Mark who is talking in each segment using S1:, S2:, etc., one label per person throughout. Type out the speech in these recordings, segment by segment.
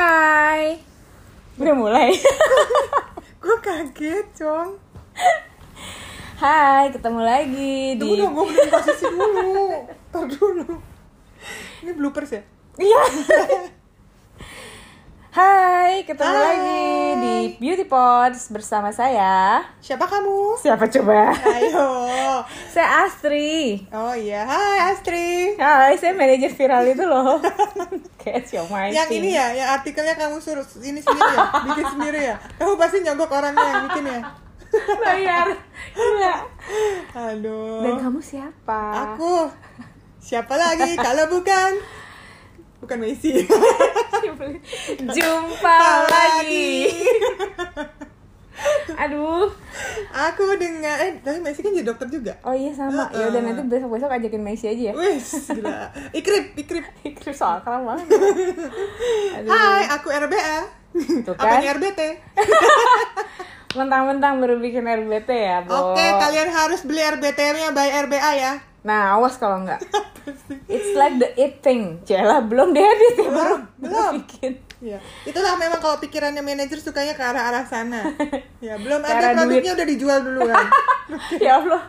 S1: mulai
S2: Udah mulai.
S1: Gue kaget Cong
S2: Hai, ketemu lagi di
S1: Tunggu dong gue belum posisi dulu Ntar dulu Ini bloopers ya?
S2: Iya. Hai, ketemu
S1: Hai.
S2: lagi di Beauty Pods bersama saya.
S1: Siapa kamu?
S2: Siapa coba?
S1: Ayo
S2: Saya Astri.
S1: Oh iya, hai Astri
S2: Hai, saya manajer viral itu loh. Kayak siomay.
S1: Yang ini ya, yang artikelnya kamu suruh ini sendiri ya? Bikin sendiri ya? Kamu pasti nyogok orangnya yang bikin ya?
S2: Bayar. Gila. Dan
S1: Aduh
S2: kamu siapa?
S1: Aku Siapa lagi kalau bukan Bukan Messi
S2: Jumpa lagi. Aduh.
S1: Aku dengan Eh, tapi Messi kan jadi dokter juga
S2: Oh iya sama. Ya udah nanti besok-besok ajakin Messi aja ya.
S1: Wis, gila. Ikrip, ikrip.
S2: Ikrip soal kerang banget. Aduh.
S1: Hai, aku RBA.
S2: Tuh
S1: Apa
S2: kan.
S1: ini RBT?
S2: Mentang-mentang baru bikin RBT ya,
S1: Oke,
S2: Bo.
S1: kalian harus beli RBT-nya by RBA ya.
S2: Nah, awas kalau enggak. It's like the it thing. Jela belum diedit ya, baru
S1: belum.
S2: bikin.
S1: Iya. Itulah memang kalau pikirannya manajer sukanya ke arah-arah sana. Ya, belum
S2: Ke
S1: ada
S2: arah
S1: produknya udah dijual duluan.
S2: ya Allah.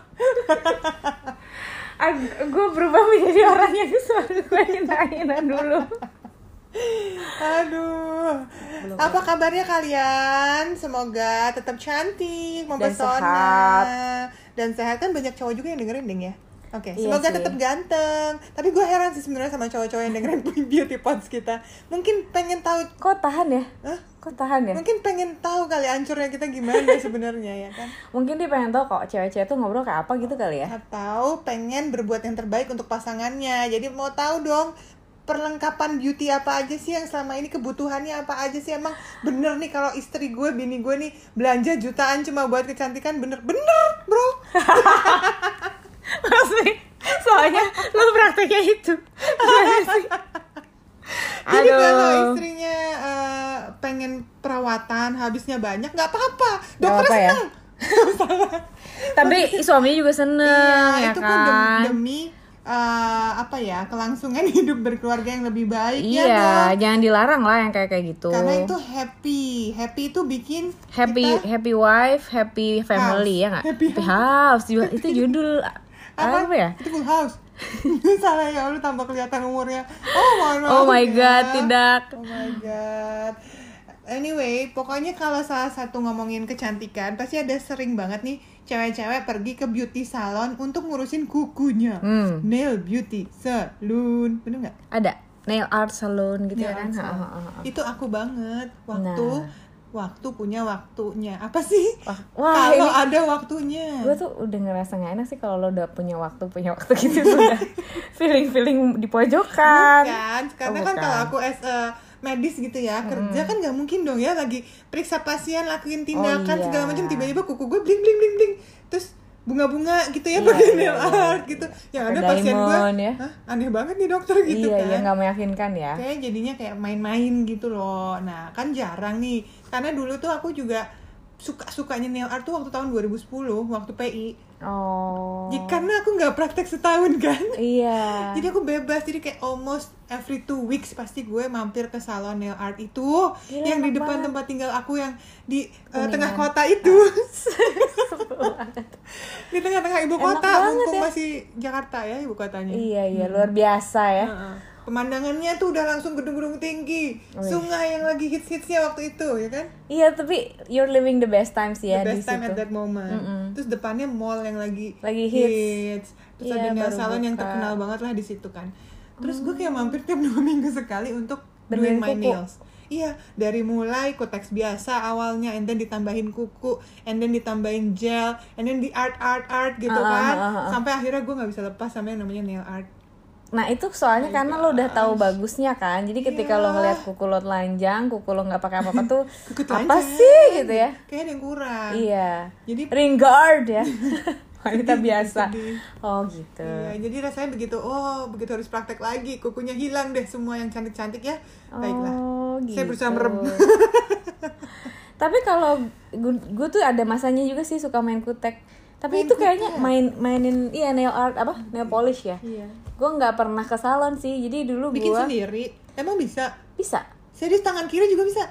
S2: gue berubah menjadi orang yang selalu gue hina-hina dulu.
S1: Aduh. Apa kabarnya kalian? Semoga tetap cantik, mempesona
S2: sehat.
S1: Dan sehat kan banyak cowok juga yang dengerin ding ya. Oke,
S2: Iya
S1: semoga
S2: sih.
S1: tetap ganteng. Tapi gue heran sih sebenarnya sama cowok-cowok yang dengerin beauty pods kita. Mungkin pengen tahu
S2: Kok tahan ya?
S1: Hah? Kan-
S2: Kok tahan ya?
S1: Mungkin pengen tahu kali ancurnya kita gimana sebenarnya ya kan.
S2: Mungkin dia pengen tahu kok cewek-cewek tuh ngobrol kayak apa gitu kali ya.
S1: Atau pengen berbuat yang terbaik untuk pasangannya. Jadi mau tahu dong perlengkapan beauty apa aja sih yang selama ini kebutuhannya apa aja sih emang bener nih kalau istri gue bini gue nih belanja jutaan cuma buat kecantikan bener bener bro
S2: Pasti. Soalnya lo prakteknya itu. Gimana sih?
S1: jadi kalau
S2: Aduh.
S1: istrinya eh, pengen perawatan habisnya banyak nggak apa-apa dokter
S2: apa-apa ya?
S1: senang
S2: Tapi suaminya juga seneng
S1: Iya,
S2: ya
S1: itu pun dem-
S2: kan.
S1: demi eh, apa ya kelangsungan hidup berkeluarga yang lebih baik
S2: Iya,
S1: ya dong?
S2: jangan dilarang lah yang kayak kayak gitu.
S1: karena itu happy happy itu bikin
S2: happy
S1: kita
S2: happy wife, happy family ya
S1: House.
S2: nggak?
S1: Happy
S2: house juga itu judul apa, ya?
S1: itu full house salah ya lu tambah kelihatan umurnya oh mohon
S2: Oh
S1: maaf
S2: my
S1: ya.
S2: god, tidak.
S1: oh my god Anyway, pokoknya kalau salah satu ngomongin kecantikan, pasti ada sering banget nih cewek-cewek pergi ke beauty salon untuk ngurusin kukunya.
S2: Hmm.
S1: Nail beauty salon, bener nggak?
S2: Ada nail art salon gitu ya
S1: Nail art
S2: kan? Ha,
S1: salon.
S2: ha, ha, ha.
S1: Iya Itu aku banget waktu
S2: Nah.
S1: waktu punya waktunya. Apa sih?
S2: Wah,
S1: kalau
S2: ini-
S1: ada waktunya.
S2: Gue tuh udah ngerasa gak enak sih kalau lo udah punya waktu punya waktu gitu udah feeling feeling di pojokan.
S1: kan karena
S2: Oh,
S1: kan
S2: bukan.
S1: kalau aku as a medis gitu ya kerja kan nggak mungkin dong ya lagi periksa pasien lakuin tindakan
S2: iya.
S1: segala macam tiba-tiba kuku gue bling bling bling bling terus bunga-bunga gitu ya pakai
S2: iya,
S1: nail
S2: iya,
S1: art gitu yang
S2: Pakai
S1: ada pasien gue
S2: diamond ya.
S1: "Hah, aneh banget nih dokter gitu
S2: iya
S1: kan
S2: iya nggak meyakinkan ya.
S1: kayak jadinya kayak main-main gitu loh nah kan jarang nih karena dulu tuh aku juga suka sukanya nail art tuh waktu tahun 2010 waktu PI
S2: Oh.
S1: Jadi karena aku nggak praktek setahun kan
S2: Iya.
S1: jadi aku bebas, jadi kayak almost every two weeks pasti gue mampir ke salon nail art itu
S2: Gila,
S1: yang di
S2: enak
S1: depan
S2: banget.
S1: tempat tinggal aku yang di eh,
S2: Kuningan. Ah.
S1: tengah kota itu. di tengah-tengah ibu
S2: Enak
S1: kota,
S2: banget
S1: mumpung
S2: ya.
S1: masih Jakarta ya ibu kotanya.
S2: Iya iya
S1: Hmm.
S2: luar biasa ya.
S1: Heeh. Pemandangannya tuh udah langsung gedung-gedung tinggi,
S2: Oh,
S1: sungai yang lagi hits-hitsnya waktu itu, ya kan?
S2: Iya tapi you're living the best times ya
S1: The
S2: di
S1: best time
S2: situ.
S1: at that moment. Terus depannya mall yang lagi
S2: Lagi hits.
S1: Terus
S2: Iya,
S1: ada nail
S2: baru
S1: salon yang
S2: buka. Hmm.
S1: terkenal banget lah di situ kan. Terus gue kayak mampir tiap dua minggu sekali untuk
S2: Benerin
S1: doing my
S2: kuku.
S1: nails. Iya, dari mulai kuteks biasa awalnya, and then ditambahin kuku, and then ditambahin gel, and then di art art art gitu
S2: Ah, ah,
S1: kan,
S2: ah, ah.
S1: sampai akhirnya gue nggak bisa lepas sama yang namanya nail art.
S2: Nah itu
S1: Oh,
S2: soalnya karena
S1: iya.
S2: lo udah tahu bagusnya kan Jadi ketika lo ngeliat kuku lo telanjang Kuku lo gak pakai apa-apa tuh
S1: Kuku
S2: Apa
S1: telanjang.
S2: sih gitu ya
S1: Kayaknya ada yang kurang.
S2: Iya
S1: Jadi-
S2: Ring guard ya Wanita
S1: Sedih,
S2: biasa
S1: sedih.
S2: Oh gitu
S1: Iya, jadi rasanya begitu, oh begitu harus praktek lagi, kukunya hilang deh semua yang cantik-cantik ya. Baiklah.
S2: Oh gitu
S1: Saya berusaha merem.
S2: Tapi kalau gue tuh ada masanya juga sih suka main kutek Tapi itu kayaknya main mainin Iya nail art apa? Nail polish ya
S1: ya? Iya.
S2: Gue gak pernah ke salon sih Jadi dulu
S1: Bikin
S2: gue
S1: sendiri, emang bisa?
S2: bisa
S1: Serius tangan kiri juga bisa?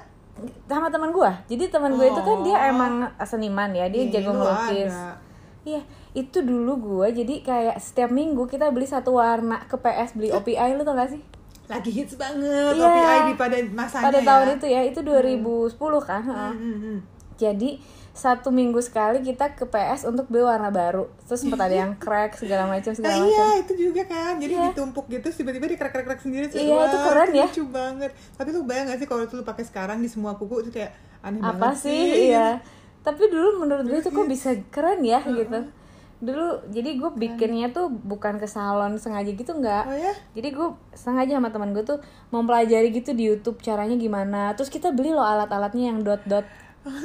S2: sama teman gue jadi teman gue itu kan dia
S1: Oh.
S2: emang seniman ya dia
S1: Iya,
S2: jago
S1: lu
S2: ngelukis
S1: ada.
S2: iya itu dulu gue jadi kayak setiap minggu kita beli satu warna ke PS beli OPI lu tau gak sih
S1: Lagi hits banget
S2: Iya.
S1: OPI di pada masanya
S2: pada
S1: ya.
S2: tahun itu ya itu 2010 kan heeh.
S1: Hmm, hmm, hmm.
S2: jadi satu minggu sekali kita ke PS untuk beli warna baru terus sempat ada yang crack segala macam
S1: Nah,
S2: segala macam
S1: iya itu juga kan jadi
S2: Iya.
S1: ditumpuk gitu terus tiba-tiba dikrek-krek sendiri terus,
S2: Iya, itu
S1: wah,
S2: keren ya.
S1: lucu banget tapi lu bayang gak sih kalau itu lu pakai sekarang di semua kuku itu kayak aneh
S2: apa
S1: banget Iya.
S2: sih iya tapi dulu menurut gue itu kok bisa keren ya gitu dulu jadi gue bikinnya tuh bukan ke salon sengaja gitu nggak
S1: oh ya
S2: jadi gue sengaja sama teman gue tuh mempelajari gitu di YouTube caranya gimana terus kita beli loh alat-alatnya yang dot-dot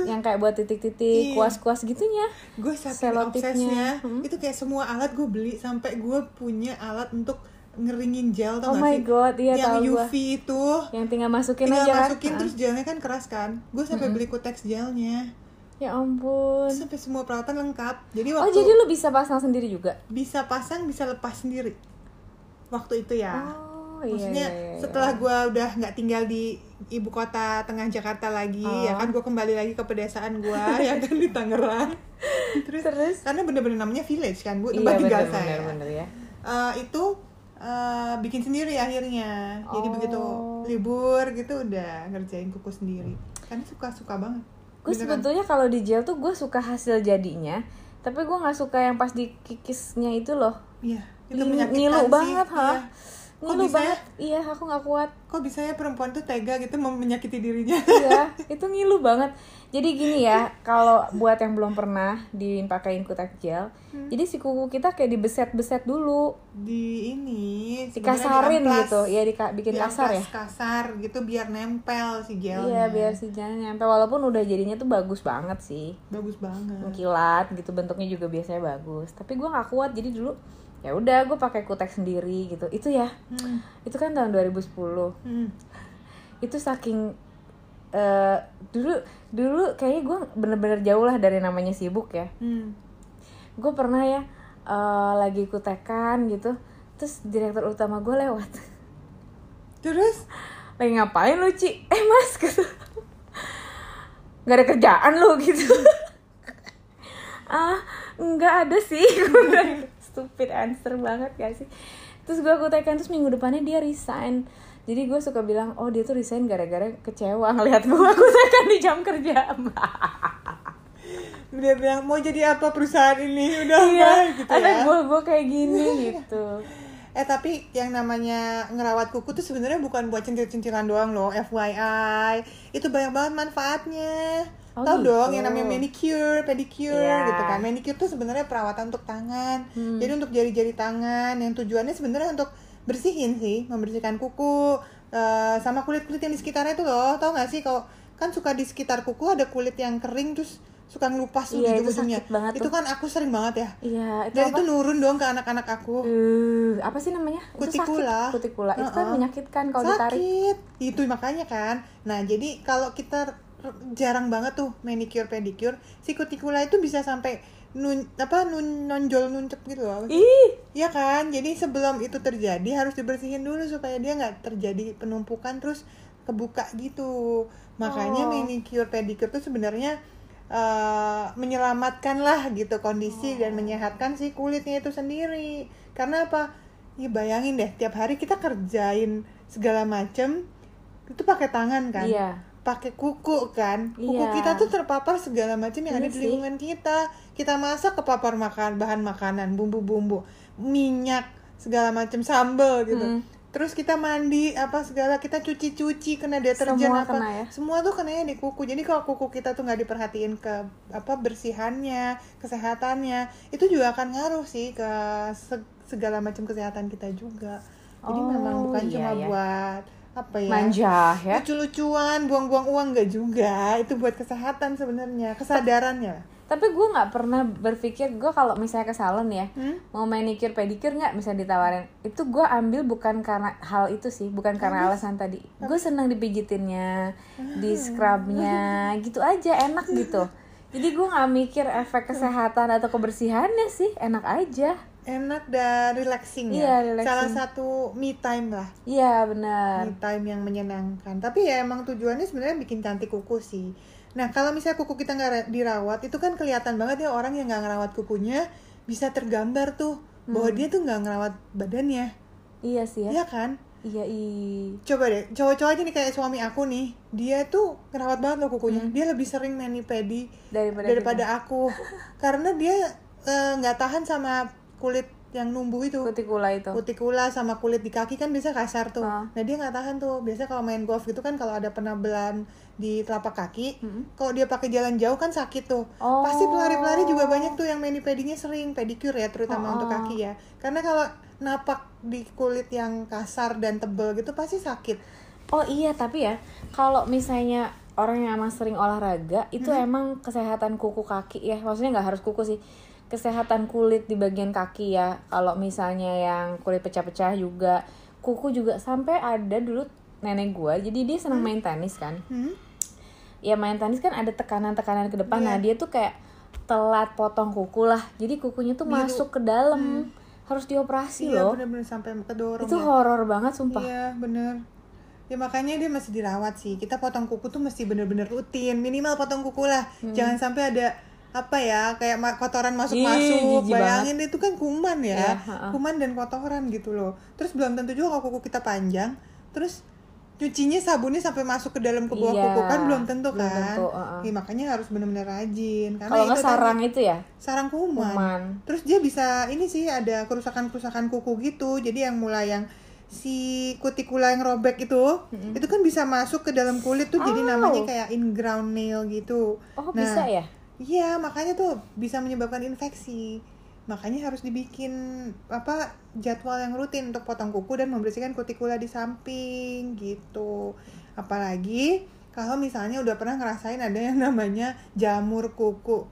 S2: yang kayak buat titik-titik
S1: Iya.
S2: kuas-kuas gitunya
S1: gue saking
S2: Selotipnya. Hmm?
S1: obsesnya itu kayak semua alat gue beli sampai gue punya alat untuk ngeringin gel tau
S2: Oh
S1: gak
S2: my
S1: sih
S2: God, iya,
S1: yang
S2: tahu gua.
S1: UV itu
S2: yang tinggal masukin
S1: tinggal
S2: aja
S1: masukin
S2: kan
S1: terus gelnya kan keras kan gue sampai beli kuteks gelnya
S2: ya ampun
S1: Terus sampai semua peralatan lengkap jadi
S2: oh
S1: waktu
S2: jadi lu bisa pasang sendiri juga
S1: bisa pasang bisa lepas sendiri waktu itu ya
S2: oh iya,
S1: maksudnya
S2: iya, iya, iya.
S1: setelah gua udah nggak tinggal di ibu kota tengah Jakarta lagi
S2: Oh.
S1: ya kan gua kembali lagi ke pedesaan gua ya kan di Tangerang terus,
S2: Terus?
S1: karena bener-bener namanya village kan bu
S2: iya
S1: tempat tinggal
S2: bener,
S1: saya
S2: bener, bener ya
S1: Eh, itu eh, bikin sendiri akhirnya jadi
S2: Oh.
S1: begitu libur gitu udah ngerjain kuku sendiri kan suka suka banget
S2: gue
S1: Beneran.
S2: sebetulnya kalau di gel tuh gue suka hasil jadinya tapi gue nggak suka yang pas dikikisnya itu loh
S1: iya itu
S2: Ngilu-
S1: menyakitkan
S2: ngilu
S1: sih,
S2: banget ha
S1: iya. Kok
S2: ngilu
S1: bisa ya?
S2: banget iya aku nggak kuat
S1: kok bisa ya perempuan tuh tega gitu mem- menyakiti dirinya
S2: iya itu ngilu banget jadi gini ya kalau buat yang belum pernah dipakein kutak gel
S1: Hmm.
S2: jadi si kuku kita kayak dibeset-beset dulu
S1: di ini sebenarnya
S2: dikasarin
S1: diamplas.
S2: gitu ya dika- bikin kasar ya
S1: Diamplas kasar Iya, gitu biar nempel si
S2: iya
S1: gelnya
S2: biar si jalan nyampe walaupun udah jadinya tuh bagus banget sih
S1: bagus banget
S2: mengkilat gitu bentuknya juga biasanya bagus tapi gue nggak kuat jadi dulu ya udah gue pakai kutek sendiri gitu itu ya
S1: hmm.
S2: itu kan tahun 2010
S1: Hmm.
S2: itu saking eh, dulu dulu kayaknya gue bener-bener jauh lah dari namanya sibuk ya
S1: Hmm.
S2: gue pernah ya eh, lagi kutekan gitu terus direktur utama gue lewat
S1: terus
S2: lagi ngapain lu Ci? eh mas gitu nggak ada kerjaan lu gitu ah nggak ada sih Gua bilang, stupid answer banget gak sih terus gue kutekan terus minggu depannya dia resign jadi gue suka bilang oh dia tuh resign gara-gara kecewa ngelihat gue kutekan di jam kerja
S1: dia bilang mau jadi apa perusahaan ini udah
S2: iya
S1: apa gitu
S2: ada
S1: ya
S2: gue gue kayak gini gitu
S1: eh tapi yang namanya ngerawat kuku tuh sebenarnya bukan buat centil-centilan doang loh FYI itu banyak banget manfaatnya
S2: Oh,
S1: tau
S2: gitu.
S1: dong yang namanya manicure, pedicure
S2: Iya. Hmm.
S1: gitu kan. Manicure tuh sebenarnya perawatan untuk tangan. Jadi untuk jari-jari tangan yang tujuannya sebenarnya untuk bersihin sih, membersihkan kuku eh, sama kulit-kulit yang di sekitarnya itu loh. Tau gak sih kalau kan suka di sekitar kuku ada kulit yang kering terus suka ngelupas tuh
S2: Iya,
S1: di
S2: itu
S1: ujungnya.
S2: sakit banget
S1: Itu
S2: tuh.
S1: kan aku sering banget ya.
S2: iya itu apa
S1: Dan itu nurun dong ke anak-anak aku.
S2: Eh, apa sih namanya
S1: Kutikula.
S2: itu sakit kutikula itu kan
S1: Uh-uh.
S2: menyakitkan kalau ditarik
S1: sakit itu makanya kan nah jadi kalau kita r- jarang banget tuh manicure pedicure si kutikula itu bisa sampai nun apa nun nonjol nuncep gitu loh
S2: ih
S1: ya kan jadi sebelum itu terjadi harus dibersihin dulu supaya dia nggak terjadi penumpukan terus kebuka gitu makanya
S2: Oh.
S1: manicure pedicure tuh sebenarnya eh, menyelamatkan lah gitu kondisi
S2: Oh.
S1: dan menyehatkan si kulitnya itu sendiri karena apa ya bayangin deh tiap hari kita kerjain segala macem itu pakai tangan kan
S2: iya
S1: pakai kuku kan kuku
S2: Iya.
S1: kita tuh terpapar segala macam yang
S2: Iya
S1: ada di
S2: sih.
S1: lingkungan kita kita masak kepapar makan bahan makanan bumbu-bumbu minyak segala macam sambel gitu
S2: Hmm.
S1: terus kita mandi apa segala kita cuci-cuci kena deterjen
S2: Semua
S1: apa
S2: kena ya?
S1: semua tuh kenanya di kuku jadi kalau kuku kita tuh nggak diperhatiin ke apa bersihannya kesehatannya itu juga akan ngaruh sih ke se- segala macam kesehatan kita juga jadi
S2: Oh,
S1: memang bukan
S2: iya,
S1: cuma
S2: iya.
S1: buat apa ya
S2: manja ya
S1: lucu-lucuan, buang-buang uang nggak juga. Itu buat kesehatan sebenarnya, kesadarannya.
S2: tapi gue nggak pernah berpikir gue kalau misalnya ke salon ya
S1: Hmm?
S2: mau manicure pedicure nggak bisa ditawarin itu gue ambil bukan karena hal itu sih bukan karena alasan tadi gue senang dipijitinnya di scrubnya gitu aja enak Iya. gitu jadi gue nggak mikir efek kesehatan atau kebersihannya sih enak aja
S1: enak dan relaxing
S2: Iya,
S1: ya.
S2: relaxing.
S1: Salah satu me time lah.
S2: Iya benar.
S1: Me time yang menyenangkan. Tapi ya emang tujuannya sebenarnya bikin cantik kuku sih. Nah kalau misalnya kuku kita nggak ra- dirawat, itu kan kelihatan banget ya orang yang nggak ngerawat kukunya bisa tergambar tuh bahwa dia tuh nggak ngerawat badannya,
S2: Hmm. Iya sih ya.
S1: ya kan?
S2: Iya i.
S1: Coba deh, cowok-cowok aja nih kayak suami aku nih, dia tuh ngerawat banget
S2: Hmm.
S1: loh kukunya. Dia lebih sering mani pedi
S2: Daripada,
S1: daripada aku, karena dia eh, nggak tahan sama kulit yang numbuh itu.
S2: kita. kutikula itu.
S1: kutikula sama kulit di kaki kan biasa kasar tuh.
S2: Ah.
S1: Nah dia nggak tahan tuh. Biasanya kalau main golf gitu kan kalau ada penabelan di telapak kaki, kalau dia pakai jalan jauh kan sakit tuh.
S2: Oh.
S1: Pasti pelari-pelari juga banyak tuh yang main di pedinya sering pedicure ya terutama untuk kaki ya. Karena kalau napak di kulit yang kasar dan tebel gitu pasti sakit.
S2: Oh iya tapi ya kalau misalnya orang yang emang sering olahraga itu
S1: Mm-hmm.
S2: emang kesehatan kuku kaki ya maksudnya nggak harus kuku sih kesehatan kulit di bagian kaki ya kalau misalnya yang kulit pecah-pecah juga kuku juga sampai ada dulu nenek gua jadi dia senang
S1: Mm-hmm.
S2: main tenis kan
S1: Hmm?
S2: ya main tenis kan ada tekanan-tekanan ke depan nah
S1: Iya.
S2: dia tuh kayak telat potong kuku lah jadi kukunya tuh masuk ke dalam harus dioperasi
S1: Mm. Iya
S2: loh
S1: bener-bener sampai kedorong.
S2: itu
S1: ya.
S2: horor banget sumpah
S1: Iya bener Ya makanya dia masih dirawat sih Kita potong kuku tuh mesti bener-bener rutin Minimal potong kuku lah Jangan sampai ada apa ya kayak ma- kotoran masuk-masuk
S2: Hmm. Ih, jijik
S1: bayangin itu kan kuman ya
S2: Iya, ha-ha.
S1: kuman dan kotoran gitu loh terus belum tentu juga kalau kuku kita panjang terus cucinya sabunnya sampai masuk ke dalam ke bawah
S2: Iya,
S1: kuku kan belum tentu
S2: belum
S1: kan
S2: tentu, ha-ha.
S1: Ih, makanya harus bener-bener rajin karena
S2: kalau nggak
S1: itu tadi,
S2: sarang itu ya
S1: sarang kuman
S2: kuman
S1: Terus dia bisa ini sih ada kerusakan-kerusakan kuku gitu. Jadi yang mulai yang si kutikula yang robek itu, itu kan bisa masuk ke dalam kulit tuh.
S2: Oh.
S1: Jadi namanya kayak in ground nail gitu.
S2: Oh
S1: Nah,
S2: bisa ya?
S1: Iya, makanya tuh bisa menyebabkan infeksi. Makanya harus dibikin apa jadwal yang rutin untuk potong kuku dan membersihkan kutikula di samping gitu. Apalagi kalau misalnya udah pernah ngerasain ada yang namanya jamur kuku.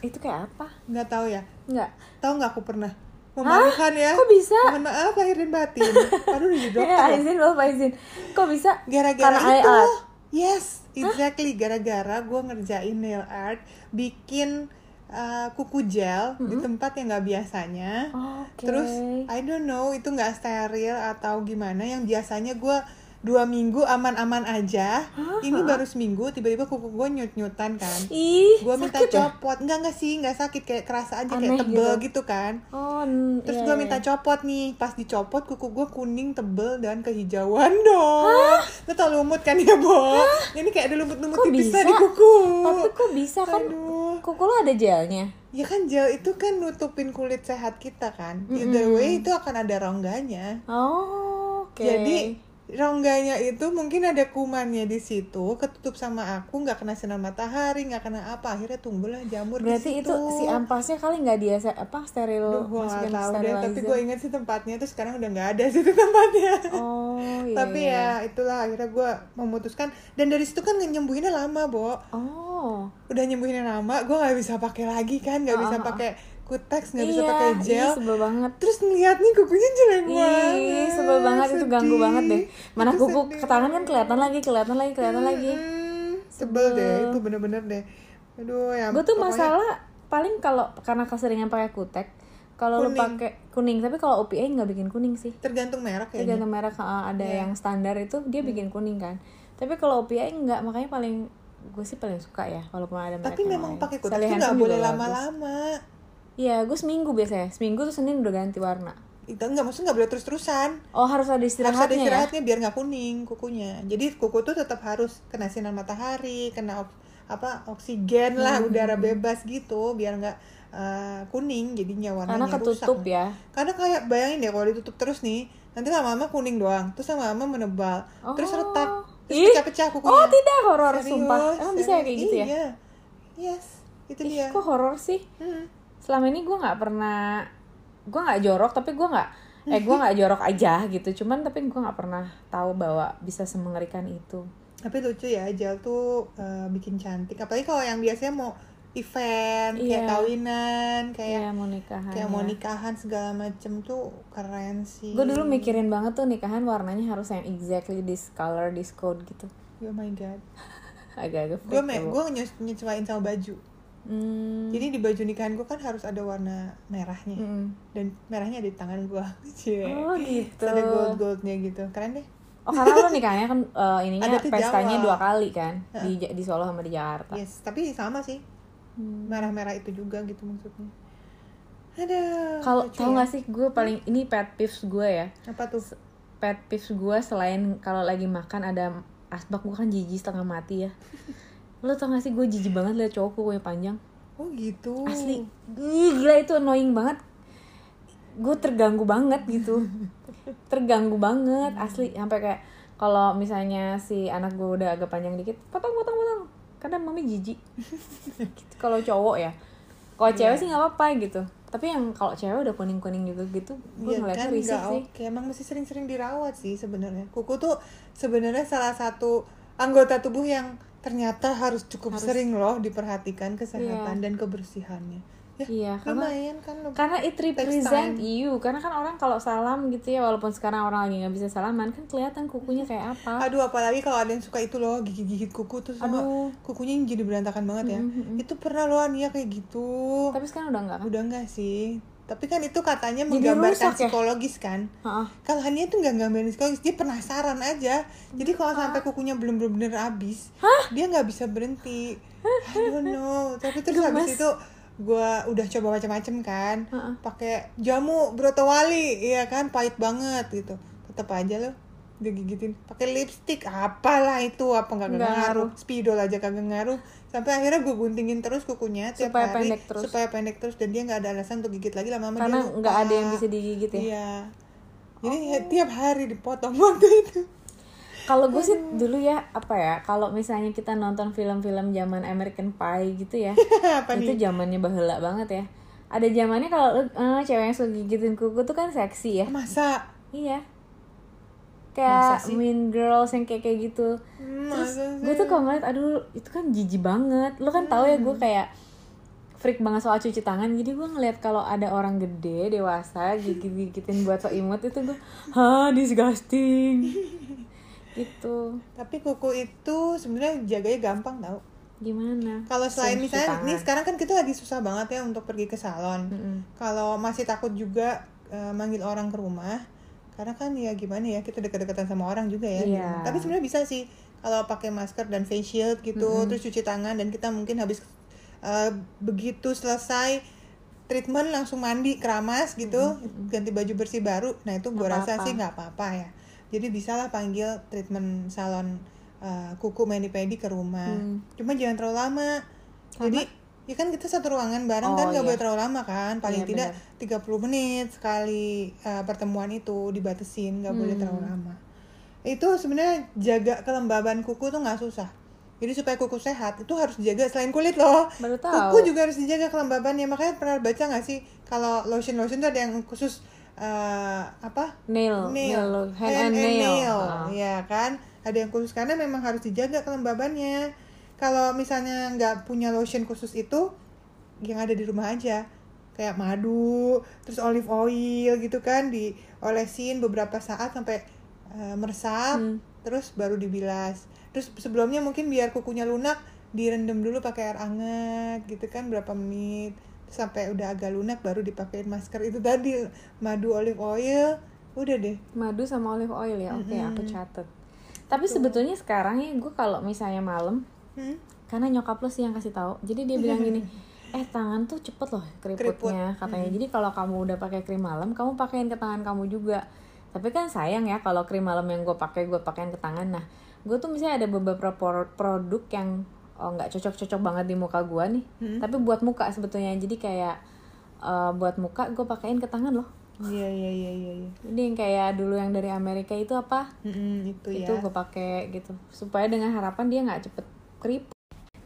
S2: Itu kayak apa?
S1: Nggak tahu ya.
S2: Enggak.
S1: Tahu nggak aku pernah memalukan ya?
S2: Kok bisa?
S1: Mohon maaf lahir dan batin. Aduh udah jadi dokter.
S2: Ya,
S1: ya.
S2: izin loh, Pak izin. Kok bisa?
S1: Gara-gara
S2: Karena
S1: itu.
S2: art.
S1: Yes, exactly. Gara-gara gue ngerjain nail art, bikin uh, kuku gel di tempat yang nggak biasanya.
S2: Oke.
S1: Terus I don't know itu nggak steril atau gimana yang biasanya gue dua minggu aman-aman aja. Ini baru seminggu tiba-tiba kuku gue nyut-nyutan kan.
S2: ih,
S1: Gue minta
S2: sakit ya?
S1: copot, nggak nggak sih, nggak sakit kayak kerasa aja kayak
S2: Aneh
S1: tebel
S2: gitu.
S1: gitu kan.
S2: Oh, n-
S1: Terus
S2: iya,
S1: gue
S2: iya.
S1: minta copot nih, pas dicopot kuku gue kuning tebel dan kehijauan dong. Lo tau lumut kan ya, Bo? Ini kayak ada lumut-lumut
S2: Kok
S1: tipisnya
S2: bisa?
S1: di kuku.
S2: Tapi kok bisa kan
S1: Aduh.
S2: kuku lo ada gelnya?
S1: Ya kan gel itu kan nutupin kulit sehat kita kan. Either way itu akan ada rongganya.
S2: Oh, oke.
S1: Jadi rongganya itu mungkin ada kumannya di situ, ketutup sama aku, nggak kena sinar matahari, nggak kena apa, akhirnya tumbuhlah jamur
S2: berarti
S1: di situ.
S2: itu si ampasnya kali nggak dia se- apa
S1: Duh,
S2: steril
S1: gue nggak
S2: masukin
S1: tahu deh, tapi
S2: sterilizer.
S1: gue inget sih tempatnya, terus sekarang udah nggak ada situ tempatnya.
S2: Oh, iya.
S1: tapi
S2: iya.
S1: ya itulah akhirnya gue memutuskan dan dari situ kan nyembuhinnya lama bo
S2: Oh.
S1: udah nyembuhinnya lama gue nggak bisa pakai lagi kan nggak bisa pakai kuteks nggak bisa
S2: Iya,
S1: pakai
S2: ih,
S1: gel
S2: sebel banget.
S1: terus ngeliat nih kukunya jelek banget
S2: Ih, sebel banget itu ganggu
S1: sedih.
S2: banget deh. Mana
S1: Itu
S2: kuku
S1: sedih.
S2: ke tangan kan kelihatan lagi, kelihatan lagi, kelihatan lagi.
S1: Mm, sebel deh itu bener-bener deh aduh ya
S2: gue tuh
S1: pokoknya-
S2: masalah paling kalau karena keseringan pakai kutek kalau lu
S1: Kuning.
S2: pakai kuning tapi kalau OPA nggak bikin kuning sih
S1: tergantung merek ya. kayaknya
S2: tergantung merek uh, ada
S1: Iya.
S2: yang standar itu dia bikin kuning kan tapi kalau OPA nggak makanya paling gue sih paling suka ya walaupun ada merek
S1: tapi
S2: yang
S1: memang
S2: lain.
S1: pakai kuteks
S2: Sally
S1: tuh nggak
S2: Hansen
S1: boleh
S2: juga bagus.
S1: lama-lama
S2: iya gue seminggu biasanya seminggu tuh senin udah ganti warna
S1: itu nggak maksudnya nggak boleh terus-terusan
S2: oh harus ada
S1: harus ada
S2: istirahatnya ya
S1: istirahatnya biar nggak kuning kukunya jadi kuku tuh tetap harus kena sinar matahari kena op- apa oksigen lah
S2: Hmm.
S1: udara bebas gitu biar nggak eh, kuning jadinya
S2: karena
S1: warnanya
S2: ketutup
S1: rusak
S2: ya
S1: karena kayak bayangin deh kalau ditutup terus nih nanti lama-lama kuning doang terus lama-lama menebal terus
S2: Oh.
S1: retak terus
S2: Ih.
S1: pecah-pecah kukunya
S2: oh tidak horor
S1: Iya. Serius,
S2: sumpah emang bisa ya
S1: serius.
S2: kayak gitu ya
S1: iya. yes itu
S2: Ih,
S1: dia
S2: kok horor sih
S1: Hmm.
S2: selama ini gue nggak pernah gue nggak jorok tapi gue nggak eh gue nggak jorok aja gitu cuman tapi gue nggak pernah tahu bahwa bisa semengerikan itu
S1: tapi lucu ya gel tuh eh, bikin cantik apalagi kalau yang biasanya mau event kayak
S2: Iya.
S1: kawinan kayak
S2: Iya mau nikahan
S1: kayak mau nikahan segala macem tuh keren sih
S2: gue dulu mikirin banget tuh nikahan warnanya harus yang exactly this color this code gitu
S1: oh my god
S2: agak-agak
S1: gue
S2: freak ya,
S1: me
S2: Bu.
S1: gue nyesuaiin sama baju
S2: Hmm.
S1: Jadi di baju nikahan gue kan harus ada warna merahnya.
S2: Mm.
S1: Dan merahnya ada di tangan gue. Cie.
S2: Oh gitu.
S1: Terus ada gold goldnya gitu. Keren deh.
S2: Oh karena lo nikahnya kan eh, ininya
S1: Adatnya
S2: pestanya
S1: Jawa. Iya.
S2: dua kali kan di Ja- di Solo sama di Jakarta.
S1: Yes. Tapi sama sih.
S2: Hmm.
S1: Merah-merah itu juga gitu maksudnya. Ada. ya.
S2: Kalau tau gak sih gue paling ini pet peeves gue ya.
S1: Apa tuh?
S2: Pet peeves gue selain kalau lagi makan ada asbak gue kan jijik setengah mati ya. Lo tau gak sih gue jijik banget liat cowok kukunya panjang.
S1: Oh gitu.
S2: Asli. Ih, gila itu annoying banget. Gue terganggu banget gitu. terganggu banget asli sampai kayak kalau misalnya si anak gue udah agak panjang dikit, potong potong potong. Kadang mami jijik. gitu. Kalau cowok ya. Kalau
S1: Iya.
S2: cewek sih nggak apa-apa gitu. Tapi yang kalau cewek udah kuning-kuning gitu gitu, gue
S1: Iya
S2: ngeliatnya
S1: kan
S2: risih
S1: nggak
S2: sih.
S1: oke. Emang mesti sering-sering dirawat sih sebenarnya. Kuku tuh sebenarnya salah satu anggota tubuh yang ternyata harus cukup sering loh diperhatikan kesehatan dan kebersihannya. Ya,
S2: Iya, karena
S1: lumayan kan lu.
S2: karena it represent you karena kan orang kalau salam gitu ya walaupun sekarang orang lagi nggak bisa salaman kan kelihatan kukunya kayak apa
S1: Aduh, apalagi kalau ada yang suka itu loh gigit-gigit kuku terus sama
S2: Aduh.
S1: kukunya yang jadi berantakan banget ya. Itu pernah loh Nia kayak gitu.
S2: tapi sekarang udah nggak kan
S1: Udah enggak sih? Tapi kan itu katanya
S2: Jadi
S1: menggambarkan
S2: rusak ya?
S1: psikologis kan.
S2: Ha-ha.
S1: kalau Hania tuh nggak nggambarin psikologis dia penasaran aja jadi kalau sampai kukunya belum belum bener habis dia nggak bisa berhenti I don't know tapi terus habis itu gua udah coba macam-macam kan pakai jamu broto wali iya kan pahit banget gitu tetap aja loh digigitin pakai lipstick apalah itu apa nggak
S2: Nggak
S1: ngaruh spidol aja kagak ngaruh sampai akhirnya gue guntingin terus kukunya tiap
S2: Supaya
S1: hari
S2: pendek terus.
S1: supaya pendek terus dan dia nggak ada alasan untuk gigit lagi lama-lama dia
S2: karena
S1: lupa.
S2: nggak ada yang bisa digigit ya
S1: Iya. Jadi ya, tiap hari dipotong waktu itu.
S2: kalau gue sih
S1: Iya.
S2: dulu ya apa ya kalau misalnya kita nonton film-film zaman American Pie gitu ya
S1: Apa
S2: itu
S1: nih?
S2: zamannya bahela banget ya ada zamannya kalau eh, cewek yang suka gigitin kuku tuh kan seksi ya
S1: Masa?
S2: iya
S1: Masa
S2: kayak
S1: sih?
S2: Mean Girls yang kayak kayak gitu terus
S1: Masa sih?
S2: gue tuh kalau ngeliat aduh itu kan jijik banget lo kan tahu ya gue kayak freak banget soal cuci tangan jadi gue ngeliat kalau ada orang gede dewasa gigit gigitin buat so imut itu gue ha disgusting gitu
S1: Tapi kuku itu sebenarnya jaganya gampang tau.
S2: gimana
S1: Kalau selain
S2: Cuci
S1: misalnya,
S2: tangan.
S1: nih sekarang kan kita lagi susah banget ya untuk pergi ke salon.
S2: Mm-mm.
S1: Kalau masih takut juga eh, manggil orang ke rumah, karena kan ya gimana ya kita deket-deketan sama orang juga ya.
S2: Iya.
S1: Tapi sebenarnya bisa sih kalau pakai masker dan face shield gitu, terus cuci tangan dan kita mungkin habis eh, begitu selesai treatment langsung mandi keramas gitu, ganti baju bersih baru. Nah itu gue
S2: Nggak
S1: rasa
S2: apa-apa.
S1: sih nggak apa-apa ya. Jadi bisalah panggil treatment salon eh, kuku mani-pedi ke rumah.
S2: Hmm.
S1: Cuma jangan terlalu lama. Jadi ya kan kita satu ruangan bareng
S2: Oh,
S1: kan nggak
S2: iya.
S1: boleh terlalu lama kan. Paling
S2: Iya,
S1: tidak 30 menit sekali eh, pertemuan itu dibatasin, nggak boleh
S2: Hmm.
S1: terlalu lama. Itu sebenarnya jaga kelembaban kuku tuh nggak susah. Jadi supaya kuku sehat itu harus dijaga selain kulit loh.
S2: baru tahu
S1: Kuku juga harus dijaga kelembabannya. Makanya pernah baca nggak sih kalau lotion lotion tuh ada yang khusus eh, apa
S2: nail
S1: nail,
S2: lo- hand and nail, Ah.
S1: ya kan ada yang khusus karena memang harus dijaga kelembabannya kalau misalnya nggak punya lotion khusus itu yang ada di rumah aja kayak madu terus olive oil gitu kan diolesin beberapa saat sampai eh, meresap terus baru dibilas terus sebelumnya mungkin biar kukunya lunak direndam dulu pakai air hangat gitu kan berapa menit sampai udah agak lunak baru dipakein masker itu tadi madu olive oil udah deh
S2: madu sama olive oil ya oke aku catet tapi sebetulnya sekarang ya gue kalau misalnya malam
S1: Hmm?
S2: karena nyokap lo sih yang kasih tahu jadi dia bilang gini eh tangan tuh cepet loh keriputnya katanya jadi kalau kamu udah pakai krim malam kamu pakaiin ke tangan kamu juga tapi kan sayang ya kalau krim malam yang gue pakai gue pakaiin ke tangan nah gue tuh misalnya ada beberapa por- produk yang oh, nggak cocok-cocok banget di muka gue nih tapi buat muka sebetulnya jadi kayak eh, buat muka gue pakaiin ke tangan loh
S1: iya iya iya iya iya
S2: jadi yang kayak dulu yang dari Amerika itu apa
S1: Mm-mm, itu ya
S2: itu gue pakai gitu supaya dengan harapan dia nggak cepet keriput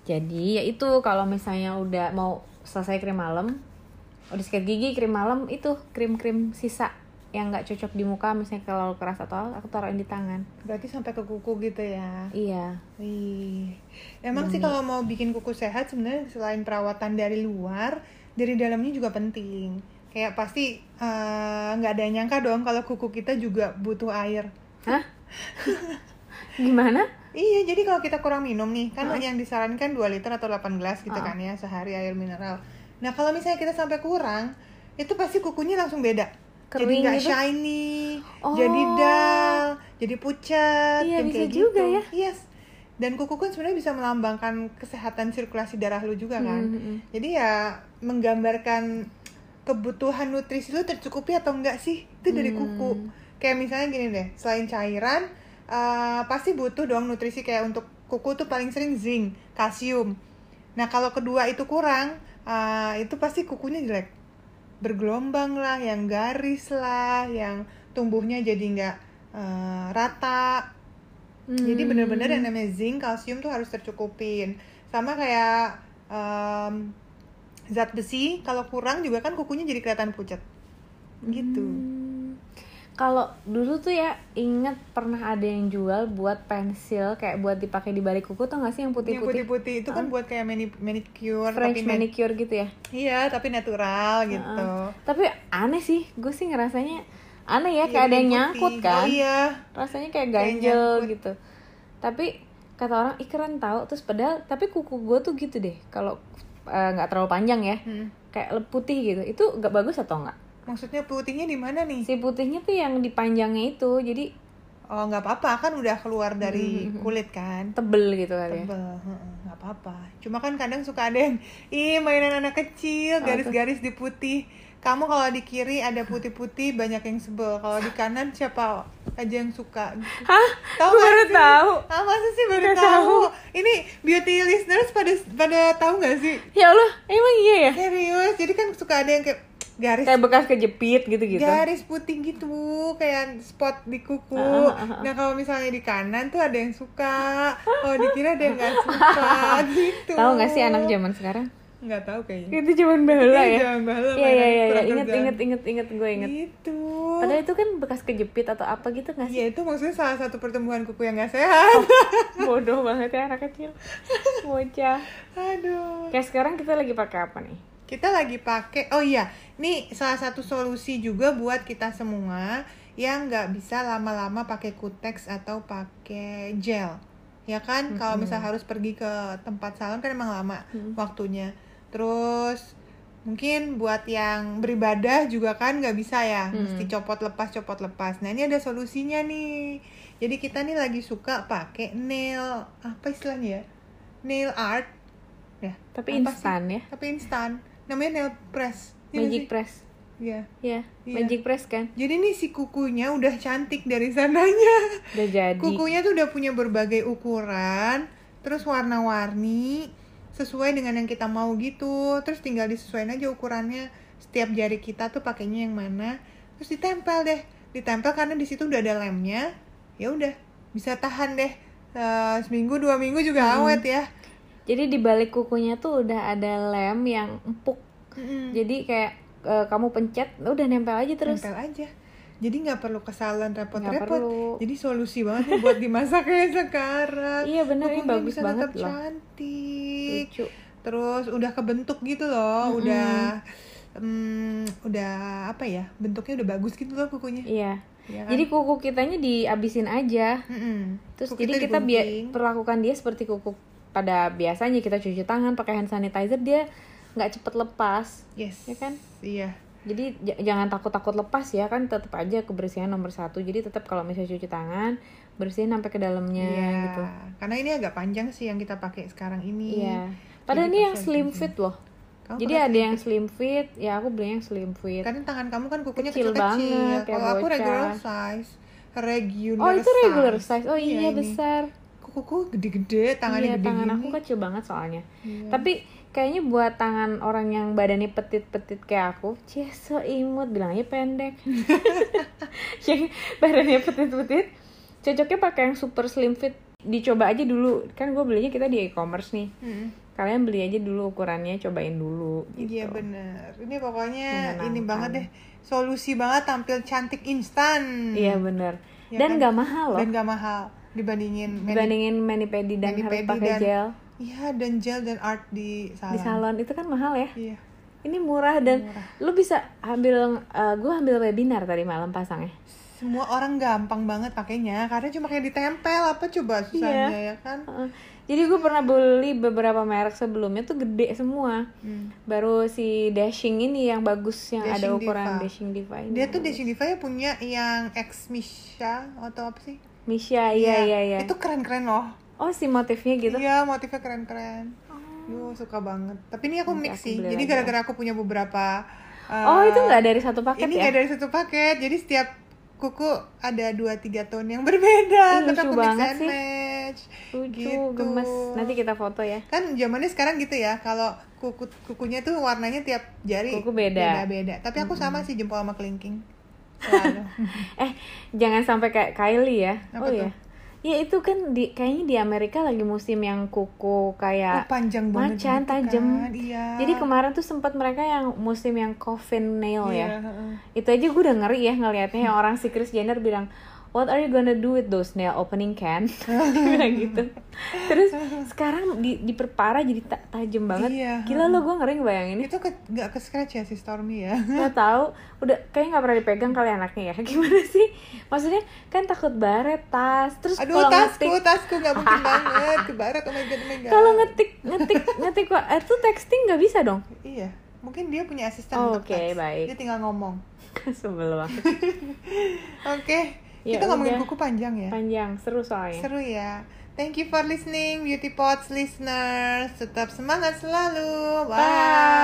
S2: jadi ya itu kalau misalnya udah mau selesai krim malam udah sikat gigi krim malam itu krim krim sisa yang nggak cocok di muka misalnya kalau keras atau apa, aku taruhin di tangan
S1: berarti sampai ke kuku gitu ya
S2: iya
S1: Wih. emang sih kalau mau bikin kuku sehat sebenarnya selain perawatan dari luar dari dalamnya juga penting kayak pasti eh, nggak ada yang nyangka dong kalau kuku kita juga butuh air
S2: gimana
S1: Iya, jadi kalau kita kurang minum nih, kan yang disarankan 2 liter atau 8
S2: Ah.
S1: gelas gitu kan ya sehari air mineral. Nah, kalau misalnya kita sampai kurang, itu pasti kukunya langsung beda. jadi
S2: Kering
S1: nggak
S2: gitu?
S1: shiny,
S2: Oh.
S1: jadi dull, jadi pucat,
S2: Iya,
S1: yang
S2: bisa
S1: kayak
S2: juga
S1: gitu.
S2: ya.
S1: Yes. Dan kuku kan sebenarnya bisa melambangkan kesehatan sirkulasi darah lu juga
S2: Hmm,
S1: kan.
S2: hmm, hmm.
S1: Jadi ya menggambarkan kebutuhan nutrisi lu tercukupi atau enggak sih itu dari kuku. Kayak misalnya gini deh, selain cairan eh, pasti butuh dong nutrisi kayak untuk kuku tuh paling sering zinc, kalsium. Nah kalau kedua itu kurang, eh, itu pasti kukunya jelek, bergelombang lah, yang garis lah, yang tumbuhnya jadi nggak eh, rata. Jadi
S2: Hmm.
S1: bener-bener yang namanya zinc, kalsium tuh harus tercukupin. Sama kayak em, zat besi, kalau kurang juga kan kukunya jadi kelihatan pucat. Gitu.
S2: Hmm. Kalau dulu tuh ya inget pernah ada yang jual buat pensil kayak buat dipakai di balik kuku tuh nggak sih yang
S1: Yang
S2: putih-putih Ah.
S1: putih-putih itu kan buat kayak mani- manicure
S2: French
S1: tapi nat-
S2: manicure gitu ya?
S1: iya, tapi
S2: Ah.
S1: natural gitu.
S2: Heeh. Tapi aneh sih, gue sih ngerasanya aneh ya
S1: Iya,
S2: kayak ada yang
S1: putih.
S2: nyangkut kan,
S1: Oh, iya.
S2: rasanya kayak
S1: Kayak
S2: ganjel
S1: nyangkut.
S2: gitu. Tapi kata orang ih keren tahu terus pedal tapi kuku gue tuh gitu deh kalau eh, nggak terlalu panjang ya
S1: Hmm.
S2: kayak le- putih gitu itu nggak bagus atau nggak
S1: Maksudnya putihnya di mana nih?
S2: si putihnya tuh yang dipanjangnya itu jadi
S1: Oh, nggak apa-apa kan udah keluar
S2: Hmm,
S1: dari kulit kan.
S2: tebel gitu kali ya
S1: Tebel, heeh, nggak apa-apa. Cuma kan kadang suka ada yang, ih mainan anak
S2: Oh,
S1: kecil, garis-garis di putih. Kamu kalau di kiri ada putih-putih, banyak yang sebel. Kalau di kanan siapa aja yang suka? gitu.
S2: Hah?
S1: Tahu
S2: Gua
S1: nggak
S2: baru
S1: sih?
S2: tahu.
S1: Ah, masa sih baru
S2: Nggak
S1: tahu?
S2: tahu.
S1: Ini beauty listeners pada pada tahu nggak sih?
S2: Ya Allah, emang iya ya?
S1: Serius, jadi kan suka ada yang kayak garis
S2: Kayak bekas kejepit gitu-gitu.
S1: garis putih gitu kayak spot di kuku
S2: Ah,
S1: nah kalau misalnya di kanan tuh ada yang suka kalau di kiri ada yang nggak suka gitu
S2: Tahu nggak sih anak zaman sekarang?
S1: nggak tahu kayaknya
S2: Itu zaman bahla
S1: Iya,
S2: ya.
S1: zaman bahla,
S2: Iya iya
S1: mainan
S2: iya, iya,
S1: kurang
S2: inget
S1: kerjaan.
S2: inget inget inget gue inget.
S1: gitu
S2: Padahal itu kan bekas kejepit atau apa gitu nggak sih?
S1: ya itu maksudnya salah satu pertumbuhan kuku yang nggak sehat
S2: Bodoh banget ya anak kecil. Bocah.
S1: aduh
S2: Kayak sekarang kita lagi pakai apa nih?
S1: kita lagi pakai oh iya nih salah satu solusi juga buat kita semua yang nggak bisa lama-lama pakai kutex atau pakai gel ya kan kalau misal harus pergi ke tempat salon kan emang lama waktunya terus mungkin buat yang beribadah juga kan nggak bisa ya mesti copot lepas copot lepas nah ini ada solusinya nih jadi kita nih lagi suka pakai nail apa istilahnya ya? nail art ya
S2: Tapi
S1: apa sih?
S2: instan ya.
S1: tapi instan namanya nail press Iya nggak
S2: Magic
S1: sih?
S2: press.
S1: Iya.
S2: Ya,
S1: Iya.
S2: magic press kan.
S1: jadi nih si kukunya udah cantik dari sananya
S2: Udah jadi.
S1: kukunya tuh udah punya berbagai ukuran terus warna-warni sesuai dengan yang kita mau gitu terus tinggal disesuaikan aja ukurannya setiap jari kita tuh pakainya yang mana terus ditempel deh ditempel karena di situ udah ada lemnya ya udah bisa tahan deh Eh, seminggu dua minggu juga awet ya
S2: Jadi di balik kukunya tuh udah ada lem yang empuk.
S1: Mm-mm.
S2: Jadi kayak eh, kamu pencet udah nempel aja terus.
S1: tempel aja jadi nggak perlu kesalahan
S2: Nggak perlu.
S1: repot-repot jadi solusi banget nih buat dimasak kayak sekarang
S2: Iya, bener, ini
S1: Kukunya
S2: bagus
S1: bisa
S2: banget
S1: tetap
S2: loh.
S1: cantik
S2: Lucu.
S1: terus udah kebentuk gitu loh udah mm, udah apa ya bentuknya udah bagus gitu loh kukunya
S2: Iya.
S1: Iya kan?
S2: Jadi kuku kitanya diabisin aja.
S1: Mm-mm.
S2: Terus
S1: Kuku
S2: jadi kita biar
S1: digunting.
S2: perlakukan dia seperti kuku pada biasanya kita cuci tangan pakai hand sanitizer dia nggak cepet lepas.
S1: yes
S2: Ya kan?
S1: iya
S2: Jadi j- jangan takut-takut lepas ya kan tetap aja kebersihan nomor satu. Jadi tetap kalau misalnya cuci tangan bersihin sampai ke dalamnya
S1: iya
S2: gitu.
S1: karena ini agak panjang sih yang kita pakai sekarang ini
S2: Iya. Padahal
S1: Jadi Oh,
S2: ini yang
S1: pasti
S2: slim
S1: ada
S2: fit loh.
S1: Kamu
S2: Jadi
S1: pakai
S2: ada yang slim fit, ya aku beli yang slim fit.
S1: karena tangan kamu kan kukunya
S2: Kecil
S1: kecil-kecil
S2: banget, ya,
S1: kalau aku
S2: bocah.
S1: regular size regular
S2: Oh itu regular
S1: size
S2: size. Oh iya,
S1: Iya, ini.
S2: besar.
S1: kukuku gede-gede tangannya
S2: iya,
S1: gede
S2: tangan
S1: gini Iya.
S2: aku kecil banget soalnya. Tapi kayaknya buat tangan orang yang badannya petit-petit kayak aku, cie so imut, bilangnya pendek. yang badannya petit-petit, cocoknya pakai yang super slim fit. Dicoba aja dulu, kan gue belinya kita di e-commerce nih.
S1: Mm-mm.
S2: Kalian beli aja dulu ukurannya, cobain dulu.
S1: Hmm. Iya
S2: Gitu.
S1: bener Ini pokoknya ini
S2: Menenangkan.
S1: banget deh Solusi banget tampil cantik instan
S2: Iya bener.
S1: Iya
S2: Dan
S1: kan?
S2: gak mahal loh.
S1: Dan gak mahal dibandingin mani-
S2: Dibandingin mani pedi dan
S1: mani
S2: harus
S1: pedi
S2: pakai
S1: dan- ah.
S2: gel
S1: Iya dan gel dan art di salon,
S2: di salon itu kan mahal ya.
S1: Iya
S2: Ini murah dan lu bisa ambil, eh, gue ambil webinar tadi malam pasangnya.
S1: semua orang gampang banget pakainya karena cuma kayak ditempel apa coba susahnya
S2: Iya.
S1: ya kan
S2: Heeh. Jadi gue pernah beli beberapa merek sebelumnya tuh gede semua. Baru si dashing ini yang bagus yang ada
S1: Hmm. Dashing
S2: ukuran
S1: Diva.
S2: dashing diva ini.
S1: dia tuh Desi Diva ya punya yang ex Misha atau apa sih
S2: Misha, iya iya iya.
S1: itu keren-keren loh
S2: Oh si motifnya gitu. Oh.
S1: Iya, motifnya keren-keren. Duh, suka banget. Tapi ini aku
S2: Nanti
S1: mix
S2: aku
S1: sih.
S2: beli
S1: Jadi
S2: lagi
S1: gara-gara aku punya beberapa uh,
S2: Oh itu nggak dari satu paket
S1: Ini
S2: ya?
S1: nggak dari satu paket. Jadi setiap kuku ada 2 3 tone yang
S2: Ih,
S1: berbeda. Tapi
S2: lucu
S1: aku mix
S2: banget
S1: and
S2: sih.
S1: match.
S2: Lucu,
S1: gitu.
S2: gemes. Nanti kita foto ya.
S1: Kan zamannya sekarang gitu ya. Kalau kuku kukunya tuh warnanya tiap jari
S2: Kuku beda.
S1: beda Tapi aku sama sih jempol sama kelingking. Selalu.
S2: Eh jangan sampai kayak Kylie ya.
S1: Apa
S2: oh
S1: tuh?
S2: iya. Ya itu kan di kayaknya di Amerika lagi musim yang kuku
S1: Oh,
S2: kayak
S1: panjang banget.
S2: macan
S1: gitu
S2: tajam.
S1: kan. Iya.
S2: Jadi kemarin tuh sempat mereka yang musim yang coffin nail ya.
S1: Iya, heeh.
S2: itu aja gue udah ngeri ya ngelihatnya yang orang si Chris Jenner bilang What are you gonna do with those nail opening can? Dia bilang gitu. Terus sekarang di, diperparah jadi ta- tajam banget.
S1: Iya.
S2: Gila lo gue ngeri ngebayanginnya.
S1: Itu ke, gak ke scratch ya si Stormy ya.
S2: Gak tahu, udah kayak nggak pernah dipegang kali anaknya ya. Gimana sih? Maksudnya kan takut baret tas. Terus
S1: Aduh,
S2: kalau
S1: tasku,
S2: ngetik
S1: tasku nggak mungkin banget ke barat, oh my god, oh my god.
S2: kalau ngetik ngetik ngetik wa- eh, itu texting nggak bisa dong.
S1: iya, mungkin dia punya asisten
S2: Oh,
S1: untuk
S2: oke,
S1: teks.
S2: baik.
S1: Dia tinggal ngomong.
S2: Sebel banget.
S1: Oke,
S2: Ya
S1: kita ngomongin
S2: udah.
S1: buku panjang ya.
S2: Panjang, seru soalnya.
S1: Seru ya. Thank you for listening, Beauty Pots listeners. Tetap semangat selalu. Bye.